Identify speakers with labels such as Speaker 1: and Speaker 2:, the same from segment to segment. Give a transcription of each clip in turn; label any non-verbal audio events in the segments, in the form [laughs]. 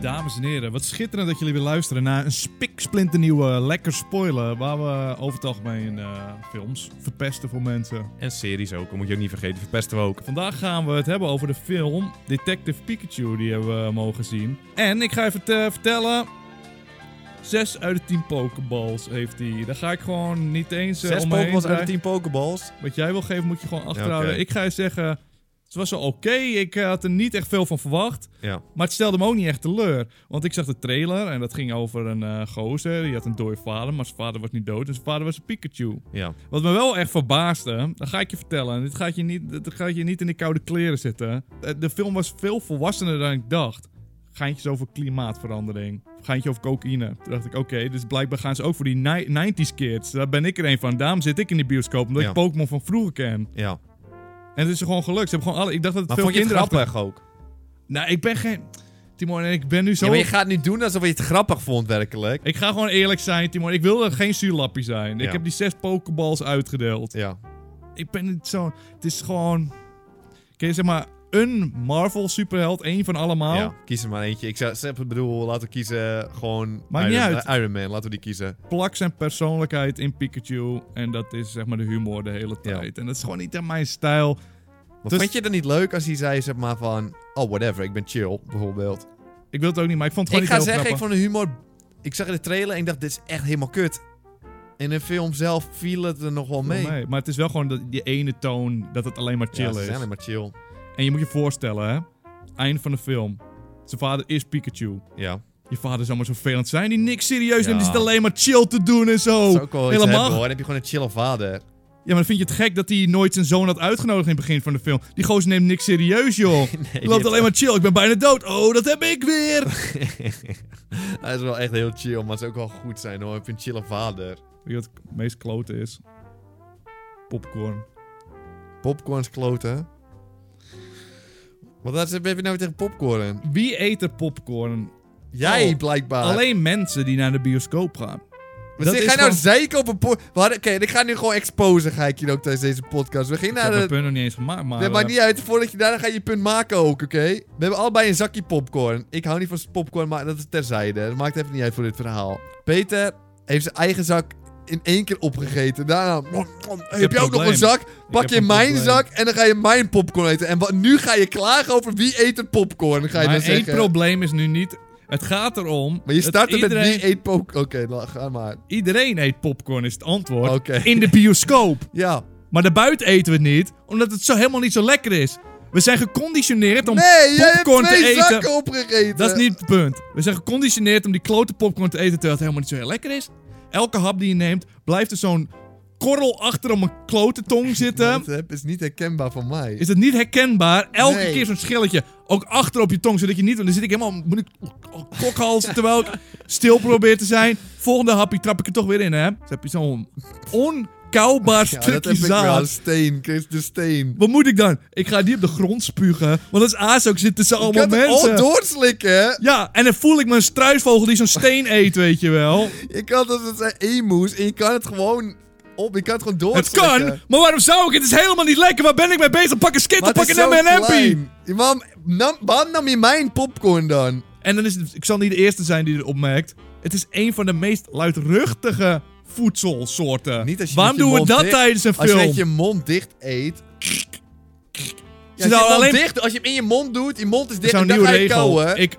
Speaker 1: Dames en heren, wat schitterend dat jullie weer luisteren naar een spiksplinternieuwe Lekker Spoiler. Waar we over het algemeen eh, films verpesten voor mensen.
Speaker 2: En series ook, dat moet je ook niet vergeten. Verpesten we ook.
Speaker 1: Vandaag gaan we het hebben over de film Detective Pikachu, die hebben we eh, mogen zien. En ik ga even eh, vertellen, 6 uit de 10 Pokeballs heeft hij. Daar ga ik gewoon niet eens eh,
Speaker 2: Zes
Speaker 1: omheen
Speaker 2: Pokéballs uit de
Speaker 1: draaien.
Speaker 2: tien Pokéballs.
Speaker 1: Wat jij wil geven, moet je gewoon achterhouden.
Speaker 2: oké.
Speaker 1: Ik ga je zeggen, het was wel oké. Ik eh, had er niet echt veel van verwacht.
Speaker 2: Ja.
Speaker 1: Maar het stelde me ook niet echt teleur. Want ik zag de trailer en dat ging over een eh, gozer. Die had een dode vader, maar zijn vader was niet dood. En zijn vader was een Pikachu.
Speaker 2: Ja.
Speaker 1: Wat me wel echt verbaasde, dat ga ik je vertellen. En Dit gaat je niet, dit gaat je niet in de koude kleren zitten. Eh, De film was veel volwassener dan ik dacht. Gaantjes over klimaatverandering. Gaantje over cocaïne. Toen dacht ik, oké, dus blijkbaar gaan ze ook voor die ni- 90s kids. Daar ben ik er een van. Daarom zit ik in die bioscoop, omdat
Speaker 2: Ja.
Speaker 1: ik Pokémon van vroeger ken.
Speaker 2: ja.
Speaker 1: En het is gewoon gelukt. Ze hebben gewoon alle... Ik dacht dat het
Speaker 2: Maar
Speaker 1: veel
Speaker 2: vond je het
Speaker 1: kinderen...
Speaker 2: grappig ook?
Speaker 1: achter- Nou, ik ben geen... Timon, en ik ben nu zo...
Speaker 2: Ja, maar je gaat nu doen alsof je het grappig vond, werkelijk.
Speaker 1: Ik ga gewoon eerlijk zijn, Timon. Ik wilde geen zuurlappie zijn. Ik
Speaker 2: Ja.
Speaker 1: heb die zes Pokeballs uitgedeeld.
Speaker 2: Ja.
Speaker 1: ik ben niet zo. Het is gewoon. Ken je zeg maar een Marvel superheld, één van allemaal.
Speaker 2: ja. Kies er maar eentje. Ik zou, ik bedoel, laten we kiezen gewoon
Speaker 1: Maakt
Speaker 2: Iron,
Speaker 1: niet uit.
Speaker 2: eh, Iron Man. Laten we die kiezen.
Speaker 1: Plak zijn persoonlijkheid in Pikachu en dat is zeg maar de humor de hele tijd. En dat is gewoon niet aan mijn stijl.
Speaker 2: Maar
Speaker 1: Dus-
Speaker 2: vond je het dan niet leuk als hij zei, zeg maar, van... Oh, whatever, ik ben chill, bijvoorbeeld.
Speaker 1: Ik wil het ook niet, maar ik vond het
Speaker 2: Ik
Speaker 1: gewoon
Speaker 2: ga
Speaker 1: niet heel
Speaker 2: zeggen, ik
Speaker 1: grappig.
Speaker 2: vond de humor... Ik zag in de trailer en ik dacht, dit is echt helemaal kut. In de film zelf viel het er nog wel mee.
Speaker 1: Voor mij. Maar het is wel gewoon dat- die ene toon dat het alleen maar
Speaker 2: ja,
Speaker 1: chill
Speaker 2: ze
Speaker 1: is.
Speaker 2: zijn alleen maar chill.
Speaker 1: En je moet je voorstellen, hè? Eind van de film. Zijn vader is Pikachu.
Speaker 2: Ja.
Speaker 1: Je vader zou maar zo vervelend zijn. Die niks serieus neemt. Die
Speaker 2: Ja.
Speaker 1: zit alleen maar chill te doen en zo.
Speaker 2: Dat is ook wel iets
Speaker 1: Helemaal
Speaker 2: hebben, hoor. Dan heb je gewoon een chille vader. [laughs]
Speaker 1: Ja, maar vind je het gek dat hij nooit zijn zoon had uitgenodigd in het begin van de film? Die gozer neemt niks serieus,
Speaker 2: [laughs]
Speaker 1: joh.
Speaker 2: Nee,
Speaker 1: Die loopt alleen maar chill, ik ben bijna dood. Oh, dat heb ik
Speaker 2: [laughs]
Speaker 1: weer.
Speaker 2: Hij is wel echt heel chill, maar het zou ook wel goed zijn hoor. Ik vind een chille vader.
Speaker 1: Weet je wat het meest klote is? Popcorn.
Speaker 2: Popcorns kloten. Wat dat is- heb je nou tegen popcorn?
Speaker 1: Wie eet er popcorn?
Speaker 2: Jij
Speaker 1: Oh,
Speaker 2: blijkbaar.
Speaker 1: Alleen mensen die naar de bioscoop gaan.
Speaker 2: We
Speaker 1: dat
Speaker 2: zitten-
Speaker 1: is
Speaker 2: Ah. ga je nou
Speaker 1: gewoon-
Speaker 2: zeiken op een po- We hadden- Oké, ik ga nu gewoon exposen, ga ik hier ook tijdens deze podcast. We gingen
Speaker 1: ik heb
Speaker 2: naar de...
Speaker 1: mijn punt nog niet eens gemaakt, maar...
Speaker 2: Dat
Speaker 1: eh,
Speaker 2: maakt niet uit, voordat je daarna ga je je punt maken ook, oké? We hebben allebei een zakje popcorn. Ik hou niet van popcorn, maar dat is terzijde. Dat maakt even niet uit voor dit verhaal. Peter heeft zijn eigen zak in één keer opgegeten. Daarna, mm, mm, heb, je ook nog
Speaker 1: probleem.
Speaker 2: een zak? Pak
Speaker 1: heb
Speaker 2: je
Speaker 1: een
Speaker 2: mijn
Speaker 1: probleem.
Speaker 2: zak en dan ga je mijn popcorn eten. En wat, nu ga je klagen over wie eet er popcorn, ga je
Speaker 1: maar
Speaker 2: dan
Speaker 1: één
Speaker 2: zeggen.
Speaker 1: probleem is nu niet... Het gaat erom...
Speaker 2: maar je
Speaker 1: dat
Speaker 2: startte
Speaker 1: iedereen,
Speaker 2: met wie eet popcorn. Oké, la- ga maar.
Speaker 1: Iedereen eet popcorn, is het antwoord.
Speaker 2: Oké.
Speaker 1: In de bioscoop.
Speaker 2: Ja.
Speaker 1: Maar daarbuiten eten we het niet, omdat het zo helemaal niet zo lekker is. We zijn geconditioneerd om
Speaker 2: Nee, jij hebt
Speaker 1: popcorn
Speaker 2: twee
Speaker 1: te eten.
Speaker 2: zakken eh. opgegeten.
Speaker 1: Dat is niet het punt. We zijn geconditioneerd om die klote popcorn te eten terwijl het helemaal niet zo heel lekker is. Elke hap die je neemt, blijft er zo'n korrel achter om een klote tong zitten.
Speaker 2: Dat heb- is niet herkenbaar van mij.
Speaker 1: Is het niet herkenbaar? Elke
Speaker 2: Nee.
Speaker 1: keer zo'n schilletje. Ook achter op je tong, zodat je niet... Want dan zit ik helemaal... Moet ik kokhalzen terwijl ik stil probeer te zijn. Volgende hapje trap ik er toch weer in, hè? Dus heb je zo'n onkauwbaar
Speaker 2: ja,
Speaker 1: stukje
Speaker 2: dat heb ik wel.
Speaker 1: zaad.
Speaker 2: Steen, Chris de Steen.
Speaker 1: Wat moet ik dan? Ik ga die op de grond spugen. Want als aas ook zitten ze
Speaker 2: Ik
Speaker 1: allemaal
Speaker 2: kan het oh,
Speaker 1: mensen.
Speaker 2: al doorslikken, hè?
Speaker 1: ja, en dan voel ik me een struisvogel die zo'n steen eet, weet je wel.
Speaker 2: Je kan [laughs] dat het zijn emoes en je kan het gewoon op, je kan het gewoon
Speaker 1: Het
Speaker 2: doorslikken.
Speaker 1: kan, maar waarom zou ik? Het is helemaal niet lekker. Waar ben ik mee bezig? Pak een skitter,
Speaker 2: Maar
Speaker 1: pak
Speaker 2: het
Speaker 1: een
Speaker 2: is nou zo
Speaker 1: M&M'pie.
Speaker 2: klein. Je Mam, nam, waarom nam je mijn popcorn dan?
Speaker 1: En dan is het, ik zal niet de eerste zijn die dit opmerkt. Het is een van de meest luidruchtige voedselsoorten.
Speaker 2: Niet als je
Speaker 1: waarom
Speaker 2: met je
Speaker 1: doen we
Speaker 2: mond
Speaker 1: dat
Speaker 2: dicht-
Speaker 1: tijdens een
Speaker 2: Als je
Speaker 1: film?
Speaker 2: met je mond dicht eet... Ja,
Speaker 1: zouden
Speaker 2: als, je alleen...
Speaker 1: alleen-
Speaker 2: dicht, als je hem in je mond doet, je mond is
Speaker 1: Ik
Speaker 2: dicht
Speaker 1: zou
Speaker 2: en
Speaker 1: een
Speaker 2: dan
Speaker 1: nieuwe
Speaker 2: ga je
Speaker 1: regel.
Speaker 2: kauwen.
Speaker 1: Ik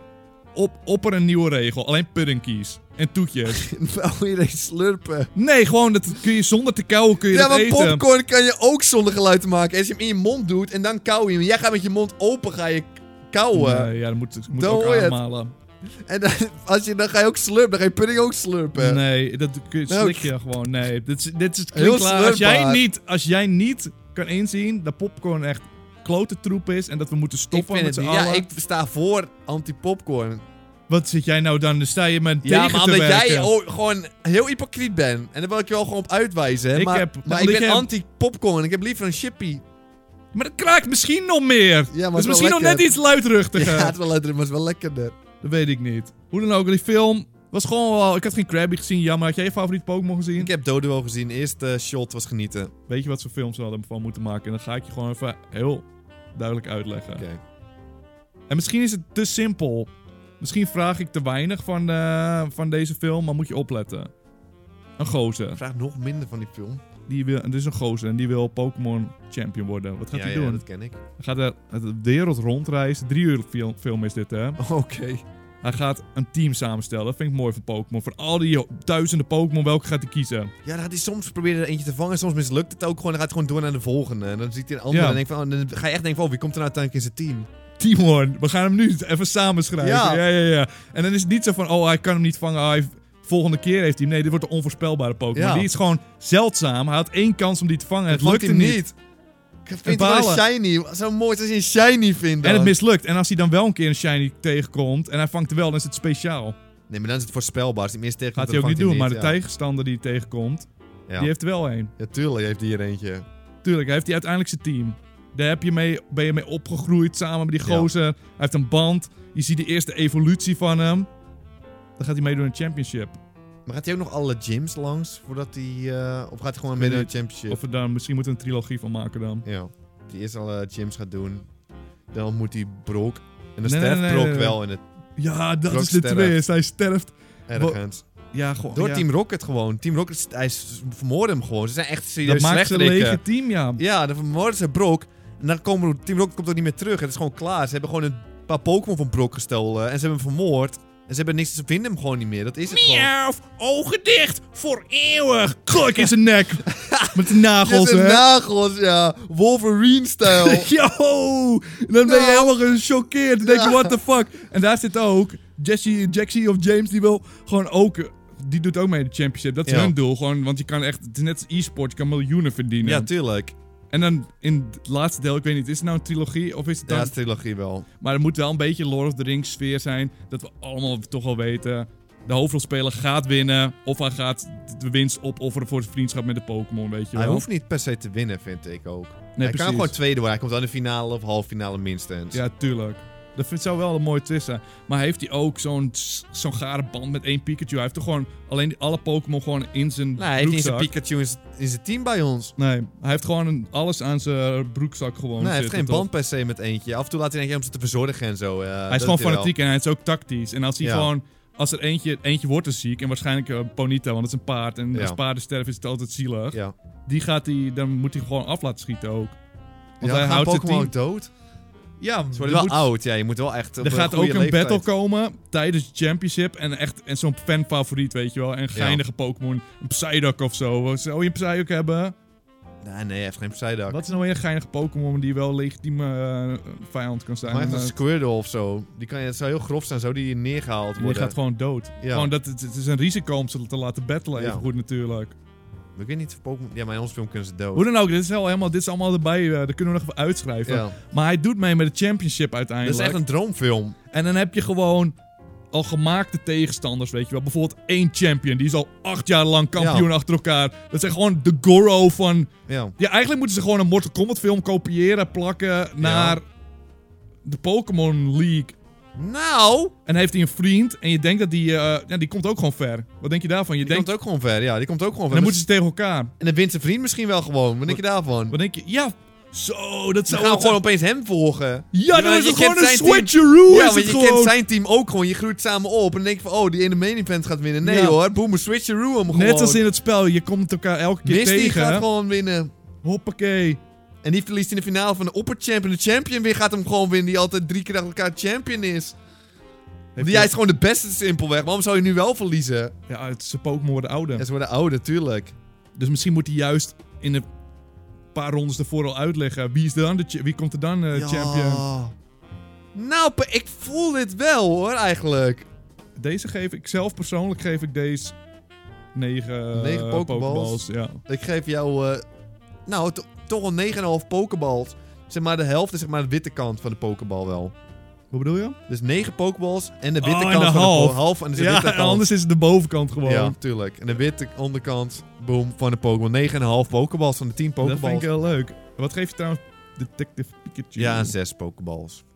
Speaker 1: op, opper een nieuwe regel. Alleen puddingkies en toetjes.
Speaker 2: [laughs] Nou, iedereen slurpen.
Speaker 1: nee, gewoon dat kun je zonder te kauwen kun je
Speaker 2: Ja,
Speaker 1: dat
Speaker 2: maar
Speaker 1: eten.
Speaker 2: popcorn kan je ook zonder geluid maken. Als je hem in je mond doet en dan kauw je hem. Jij gaat met je mond open, ga je kauwen.
Speaker 1: Nee, ja, dat moet, dat moet
Speaker 2: Dan
Speaker 1: ook
Speaker 2: hoor je het.
Speaker 1: aanhalen.
Speaker 2: En dan, als je, dan ga je ook slurpen, dan ga je pudding ook slurpen.
Speaker 1: Nee, dat kun je-
Speaker 2: Nou,
Speaker 1: slik je gewoon. Nee, dit is, dit is het
Speaker 2: Heel
Speaker 1: klinkt klaar. Als jij,
Speaker 2: slurpbaar.
Speaker 1: niet, als jij niet kan inzien dat popcorn echt klote troep is en dat we moeten stoppen
Speaker 2: ik
Speaker 1: met
Speaker 2: vind
Speaker 1: z'n
Speaker 2: het
Speaker 1: allen.
Speaker 2: niet. Ja, ik sta voor anti-popcorn.
Speaker 1: Wat zit jij nou dan? Dan sta je met
Speaker 2: Ja,
Speaker 1: tegen
Speaker 2: maar
Speaker 1: te
Speaker 2: omdat
Speaker 1: werken.
Speaker 2: jij ook gewoon heel hypocriet bent. En daar wil ik je wel gewoon op uitwijzen.
Speaker 1: Ik
Speaker 2: maar
Speaker 1: heb-
Speaker 2: maar
Speaker 1: omdat
Speaker 2: ik ben
Speaker 1: ik heb-
Speaker 2: anti-popcorn. Ik heb liever een
Speaker 1: [laughs]
Speaker 2: chippy.
Speaker 1: Maar dat kraakt misschien nog meer.
Speaker 2: Ja, maar
Speaker 1: dat is
Speaker 2: het is
Speaker 1: misschien
Speaker 2: wel
Speaker 1: nog
Speaker 2: lekker.
Speaker 1: net iets luidruchtiger.
Speaker 2: Ja, het is wel lekker, maar het is wel lekkerder.
Speaker 1: Dat weet ik niet. Hoe dan ook, die film was gewoon wel... Ik had geen Krabby gezien, jammer. Had jij je favoriete Pokémon gezien? eh,
Speaker 2: Ik heb Dodo gezien. Eerste shot was genieten.
Speaker 1: Weet je wat voor films we hadden van moeten maken? En dan ga ik je gewoon even heel duidelijk uitleggen.
Speaker 2: Oké.
Speaker 1: En misschien is het te simpel. Misschien vraag ik te weinig van, eh, van deze film, maar moet je opletten. Een gozer.
Speaker 2: Vraag nog minder van die film.
Speaker 1: Die wil, er is een gozer en die wil Pokémon champion worden. Wat gaat
Speaker 2: ja,
Speaker 1: hij
Speaker 2: ja,
Speaker 1: doen?
Speaker 2: dat
Speaker 1: [laughs]
Speaker 2: ken ik.
Speaker 1: Hij gaat de, de wereld rondreizen. Drie uur film, film is dit, hè?
Speaker 2: Oké.
Speaker 1: Hij gaat een team samenstellen. Dat vind ik mooi van Pokémon. Van al die duizenden Pokémon, welke gaat hij kiezen?
Speaker 2: Ja, dan gaat hij soms proberen er eentje te vangen. Soms mislukt het ook gewoon. Dan gaat hij gewoon door naar de volgende. En dan ziet hij een andere.
Speaker 1: Ja.
Speaker 2: En denkt van, oh, dan ga je echt denken van, oh, wie komt er nou uiteindelijk in zijn team?
Speaker 1: Timon, we gaan hem nu even samenschrijven.
Speaker 2: Ja.
Speaker 1: ja, ja, ja. En dan is het niet zo van, oh, hij kan hem niet vangen. Oh, hij- volgende keer heeft hij hem. Nee, dit wordt een onvoorspelbare Pokémon.
Speaker 2: Ja.
Speaker 1: Die is gewoon zeldzaam. Hij had één kans om die te vangen. Het
Speaker 2: Vangt
Speaker 1: lukte
Speaker 2: hij
Speaker 1: niet.
Speaker 2: Ik vind het wel een
Speaker 1: Balen.
Speaker 2: shiny. Zo mooi is als je een shiny vindt dan.
Speaker 1: En het mislukt. En als hij dan wel een keer een shiny tegenkomt en hij vangt er wel, dan is het speciaal.
Speaker 2: Nee, maar dan is het voorspelbaar. Als hij hem eerst tegenkomt,
Speaker 1: Gaat hij ook
Speaker 2: dan
Speaker 1: niet doen,
Speaker 2: vangt
Speaker 1: maar
Speaker 2: hij
Speaker 1: de
Speaker 2: hem niet.
Speaker 1: tegenstander die hij tegenkomt,
Speaker 2: Ja.
Speaker 1: die heeft er wel één.
Speaker 2: Ja, tuurlijk heeft hij hier eentje.
Speaker 1: Tuurlijk, hij heeft die uiteindelijk zijn team. Daar heb je mee, ben je mee opgegroeid samen met die
Speaker 2: Ja.
Speaker 1: gozer. Hij heeft een band. Je ziet de eerste evolutie van hem. Dan gaat hij meedoen in een championship.
Speaker 2: Maar gaat hij ook nog alle gyms langs voordat hij... eh, of gaat hij gewoon
Speaker 1: weet
Speaker 2: midden in de championship?
Speaker 1: Of we daar misschien moeten we een trilogie van maken dan.
Speaker 2: Ja. Die eerst alle gyms gaat doen. Dan moet hij Brok. En dan
Speaker 1: Nee,
Speaker 2: sterft
Speaker 1: nee, nee,
Speaker 2: Brok
Speaker 1: nee, nee.
Speaker 2: wel in het
Speaker 1: Ja, dat
Speaker 2: Brock
Speaker 1: is de
Speaker 2: sterft.
Speaker 1: twist. Hij sterft.
Speaker 2: ergens.
Speaker 1: Ja, gewoon.
Speaker 2: Door
Speaker 1: ja.
Speaker 2: Team Rocket gewoon. Team Rocket, s- hij s- vermoorden hem gewoon. Ze zijn echt
Speaker 1: Dat
Speaker 2: serieus
Speaker 1: maakt ze een
Speaker 2: slechterikken.
Speaker 1: lege team, ja.
Speaker 2: Ja, dan vermoorden ze Brok. En dan komen, Team Rocket komt ook niet meer terug. Het is gewoon klaar. Ze hebben gewoon een paar Pokémon van Brok gestolen. En ze hebben hem vermoord. En ze hebben niks, ze vinden hem gewoon niet meer. Dat is het gewoon.
Speaker 1: Miauw, ogen dicht, voor eeuwig. Kluk in zijn nek. Met de nagels,
Speaker 2: Dit zijn
Speaker 1: hè.
Speaker 2: nagels, ja. [laughs] Wolverine-stijl.
Speaker 1: [laughs] Yo! En dan ben je
Speaker 2: Ja.
Speaker 1: helemaal gechoqueerd. Dan denk je,
Speaker 2: Ja.
Speaker 1: what the fuck? En daar zit ook Jesse, Jaxie of James, die wil gewoon ook... Die doet ook mee in de championship. Dat is
Speaker 2: Ja.
Speaker 1: hun doel. Gewoon, want je kan echt... Het is net als e-sport. Je kan miljoenen verdienen.
Speaker 2: ja, tuurlijk.
Speaker 1: en dan in het laatste deel... Ik weet niet, is het nou een trilogie of is het
Speaker 2: Ja,
Speaker 1: dan...
Speaker 2: dat is trilogie wel.
Speaker 1: Maar er moet wel een beetje Lord of the Rings sfeer zijn. Dat we allemaal toch wel weten... De hoofdrolspeler gaat winnen. Of hij gaat de winst opofferen voor zijn vriendschap met de Pokémon, weet je wel.
Speaker 2: Hij hoeft niet per se te winnen, vind ik ook. hij
Speaker 1: precies.
Speaker 2: kan gewoon tweede worden. Hij komt aan de finale of halve finale minstens.
Speaker 1: Ja, tuurlijk. Dat vind, zou wel een mooie twist zijn. Maar heeft hij ook zo'n zo'n gare band met één Pikachu? Hij heeft toch gewoon alleen die- alle Pokémon gewoon in zijn
Speaker 2: Nou, hij heeft niet
Speaker 1: broekzak?
Speaker 2: zijn Pikachu in zijn- in zijn team bij ons.
Speaker 1: nee, hij heeft gewoon een- alles aan zijn broekzak gewoon
Speaker 2: Nee, hij heeft geen
Speaker 1: zitten,
Speaker 2: band
Speaker 1: toch?
Speaker 2: per se met eentje. Af en toe laat hij eentje om ze te verzorgen en zo. eh,
Speaker 1: Hij
Speaker 2: dat
Speaker 1: is gewoon
Speaker 2: doet wel.
Speaker 1: fanatiek en hij is ook tactisch. En als hij
Speaker 2: Ja.
Speaker 1: gewoon... Als er eentje, eentje wordt er ziek, en waarschijnlijk eh, Ponyta, want dat is een paard. En
Speaker 2: Ja.
Speaker 1: als paarden sterven is het altijd zielig.
Speaker 2: Ja.
Speaker 1: Die gaat hij, dan moet hij gewoon af laten schieten ook. Want
Speaker 2: ja,
Speaker 1: hij
Speaker 2: gaan
Speaker 1: houdt zijn
Speaker 2: Pokémon
Speaker 1: team...
Speaker 2: ook dood?
Speaker 1: Ja, maar
Speaker 2: Ze worden
Speaker 1: dat
Speaker 2: wel
Speaker 1: moet-
Speaker 2: oud. Ja, je moet wel echt op eh,
Speaker 1: Er gaat
Speaker 2: goede
Speaker 1: ook een
Speaker 2: leeftijd.
Speaker 1: battle komen tijdens de championship. En echt en zo'n fanfavoriet, weet je wel. En geinige Pokémon. Een Psyduck of zo. Zou je een Psyduck hebben?
Speaker 2: Nee, nee, hij heeft geen Psyduck.
Speaker 1: Wat is nou weer een geinige Pokémon die wel legitieme eh, vijand kan zijn?
Speaker 2: Maar hij heeft
Speaker 1: En,
Speaker 2: een
Speaker 1: eh,
Speaker 2: Squirtle of zo. Die kan, het zou heel grof zijn, zo die neergehaald
Speaker 1: die
Speaker 2: worden.
Speaker 1: gaat gewoon dood.
Speaker 2: Ja.
Speaker 1: Gewoon dat, het, het is een risico om ze te laten battlen.
Speaker 2: Ja.
Speaker 1: Even goed natuurlijk.
Speaker 2: Maar Ik weet niet of Pokémon... Ja, maar in ons film kunnen ze dood.
Speaker 1: Hoe dan ook, dit is, wel helemaal, dit is allemaal erbij. eh, dat kunnen we nog even uitschrijven.
Speaker 2: ja.
Speaker 1: Maar hij doet mee met de championship
Speaker 2: Dat
Speaker 1: uiteindelijk.
Speaker 2: is echt een droomfilm.
Speaker 1: En dan heb je gewoon al gemaakte tegenstanders, weet je wel. Bijvoorbeeld één champion, die is al acht jaar lang kampioen achter elkaar. Dat zijn gewoon de Goro van...
Speaker 2: Ja.
Speaker 1: Ja, eigenlijk moeten ze gewoon een Mortal Kombat film kopiëren, plakken naar de Pokémon League.
Speaker 2: Nou...
Speaker 1: En heeft hij een vriend en je denkt dat die... eh, ja, die komt ook gewoon ver. Wat denk je daarvan? Je
Speaker 2: Die
Speaker 1: denkt...
Speaker 2: komt ook gewoon ver, ja. Die komt ook gewoon
Speaker 1: En
Speaker 2: ver.
Speaker 1: dan
Speaker 2: Maar-
Speaker 1: moeten ze tegen elkaar.
Speaker 2: En dan wint zijn vriend misschien wel gewoon. Wat denk je daarvan?
Speaker 1: Wat denk je? Ja, zo, dat
Speaker 2: Ze
Speaker 1: zou...
Speaker 2: gaan
Speaker 1: wat
Speaker 2: gewoon
Speaker 1: zijn-
Speaker 2: opeens hem volgen.
Speaker 1: Ja, dan
Speaker 2: want
Speaker 1: is
Speaker 2: je
Speaker 1: het gewoon
Speaker 2: kent
Speaker 1: een
Speaker 2: zijn team.
Speaker 1: switcheroo,
Speaker 2: ja,
Speaker 1: is
Speaker 2: want
Speaker 1: het
Speaker 2: je
Speaker 1: gewoon.
Speaker 2: kent zijn team ook gewoon. Je groeit samen op. En dan denk je van, oh, die ene main event gaat winnen. Nee
Speaker 1: Ja.
Speaker 2: hoor, boem, switcheroo hem gewoon.
Speaker 1: Net als in het spel, je komt elkaar elke keer
Speaker 2: Misty
Speaker 1: tegen.
Speaker 2: gaat gewoon winnen.
Speaker 1: Hoppakee.
Speaker 2: En die verliest in de finale van de opperchamp. En de champion weer gaat hem gewoon winnen. Die altijd drie keer achter elkaar champion is. Want
Speaker 1: je-
Speaker 2: jij is gewoon de beste simpelweg. Waarom zou je nu wel verliezen?
Speaker 1: Ja, het is Pokémon worden ouder.
Speaker 2: Ja, ze worden ouder, tuurlijk.
Speaker 1: Dus misschien moet hij juist in een paar rondes ervoor al uitleggen. Wie, is dan de cha- wie komt er dan eh, champion?
Speaker 2: Nou, pa- ik voel dit wel hoor, eigenlijk.
Speaker 1: Deze geef ik zelf persoonlijk geef ik deze negen,
Speaker 2: Negen
Speaker 1: eh,
Speaker 2: Pokéballs.
Speaker 1: Pokéballs, Ja.
Speaker 2: Ik geef jou, eh, nou, to- toch wel 9,5 pokeballs. Zeg maar de helft is zeg maar de witte kant van de pokebal wel.
Speaker 1: Wat bedoel je?
Speaker 2: Dus 9 pokeballs en de witte
Speaker 1: Oh, en
Speaker 2: kant
Speaker 1: de
Speaker 2: van de
Speaker 1: half.
Speaker 2: po- half en de
Speaker 1: ja,
Speaker 2: witte kant.
Speaker 1: anders is het de bovenkant gewoon.
Speaker 2: Ja, tuurlijk. En de witte onderkant, boom, van de Pokémon. 9,5 pokeballs van de 10
Speaker 1: dat vind
Speaker 2: pokeballs.
Speaker 1: ik heel leuk. Wat geef je trouwens Detective Pikachu?
Speaker 2: Ja, en 6 pokeballs.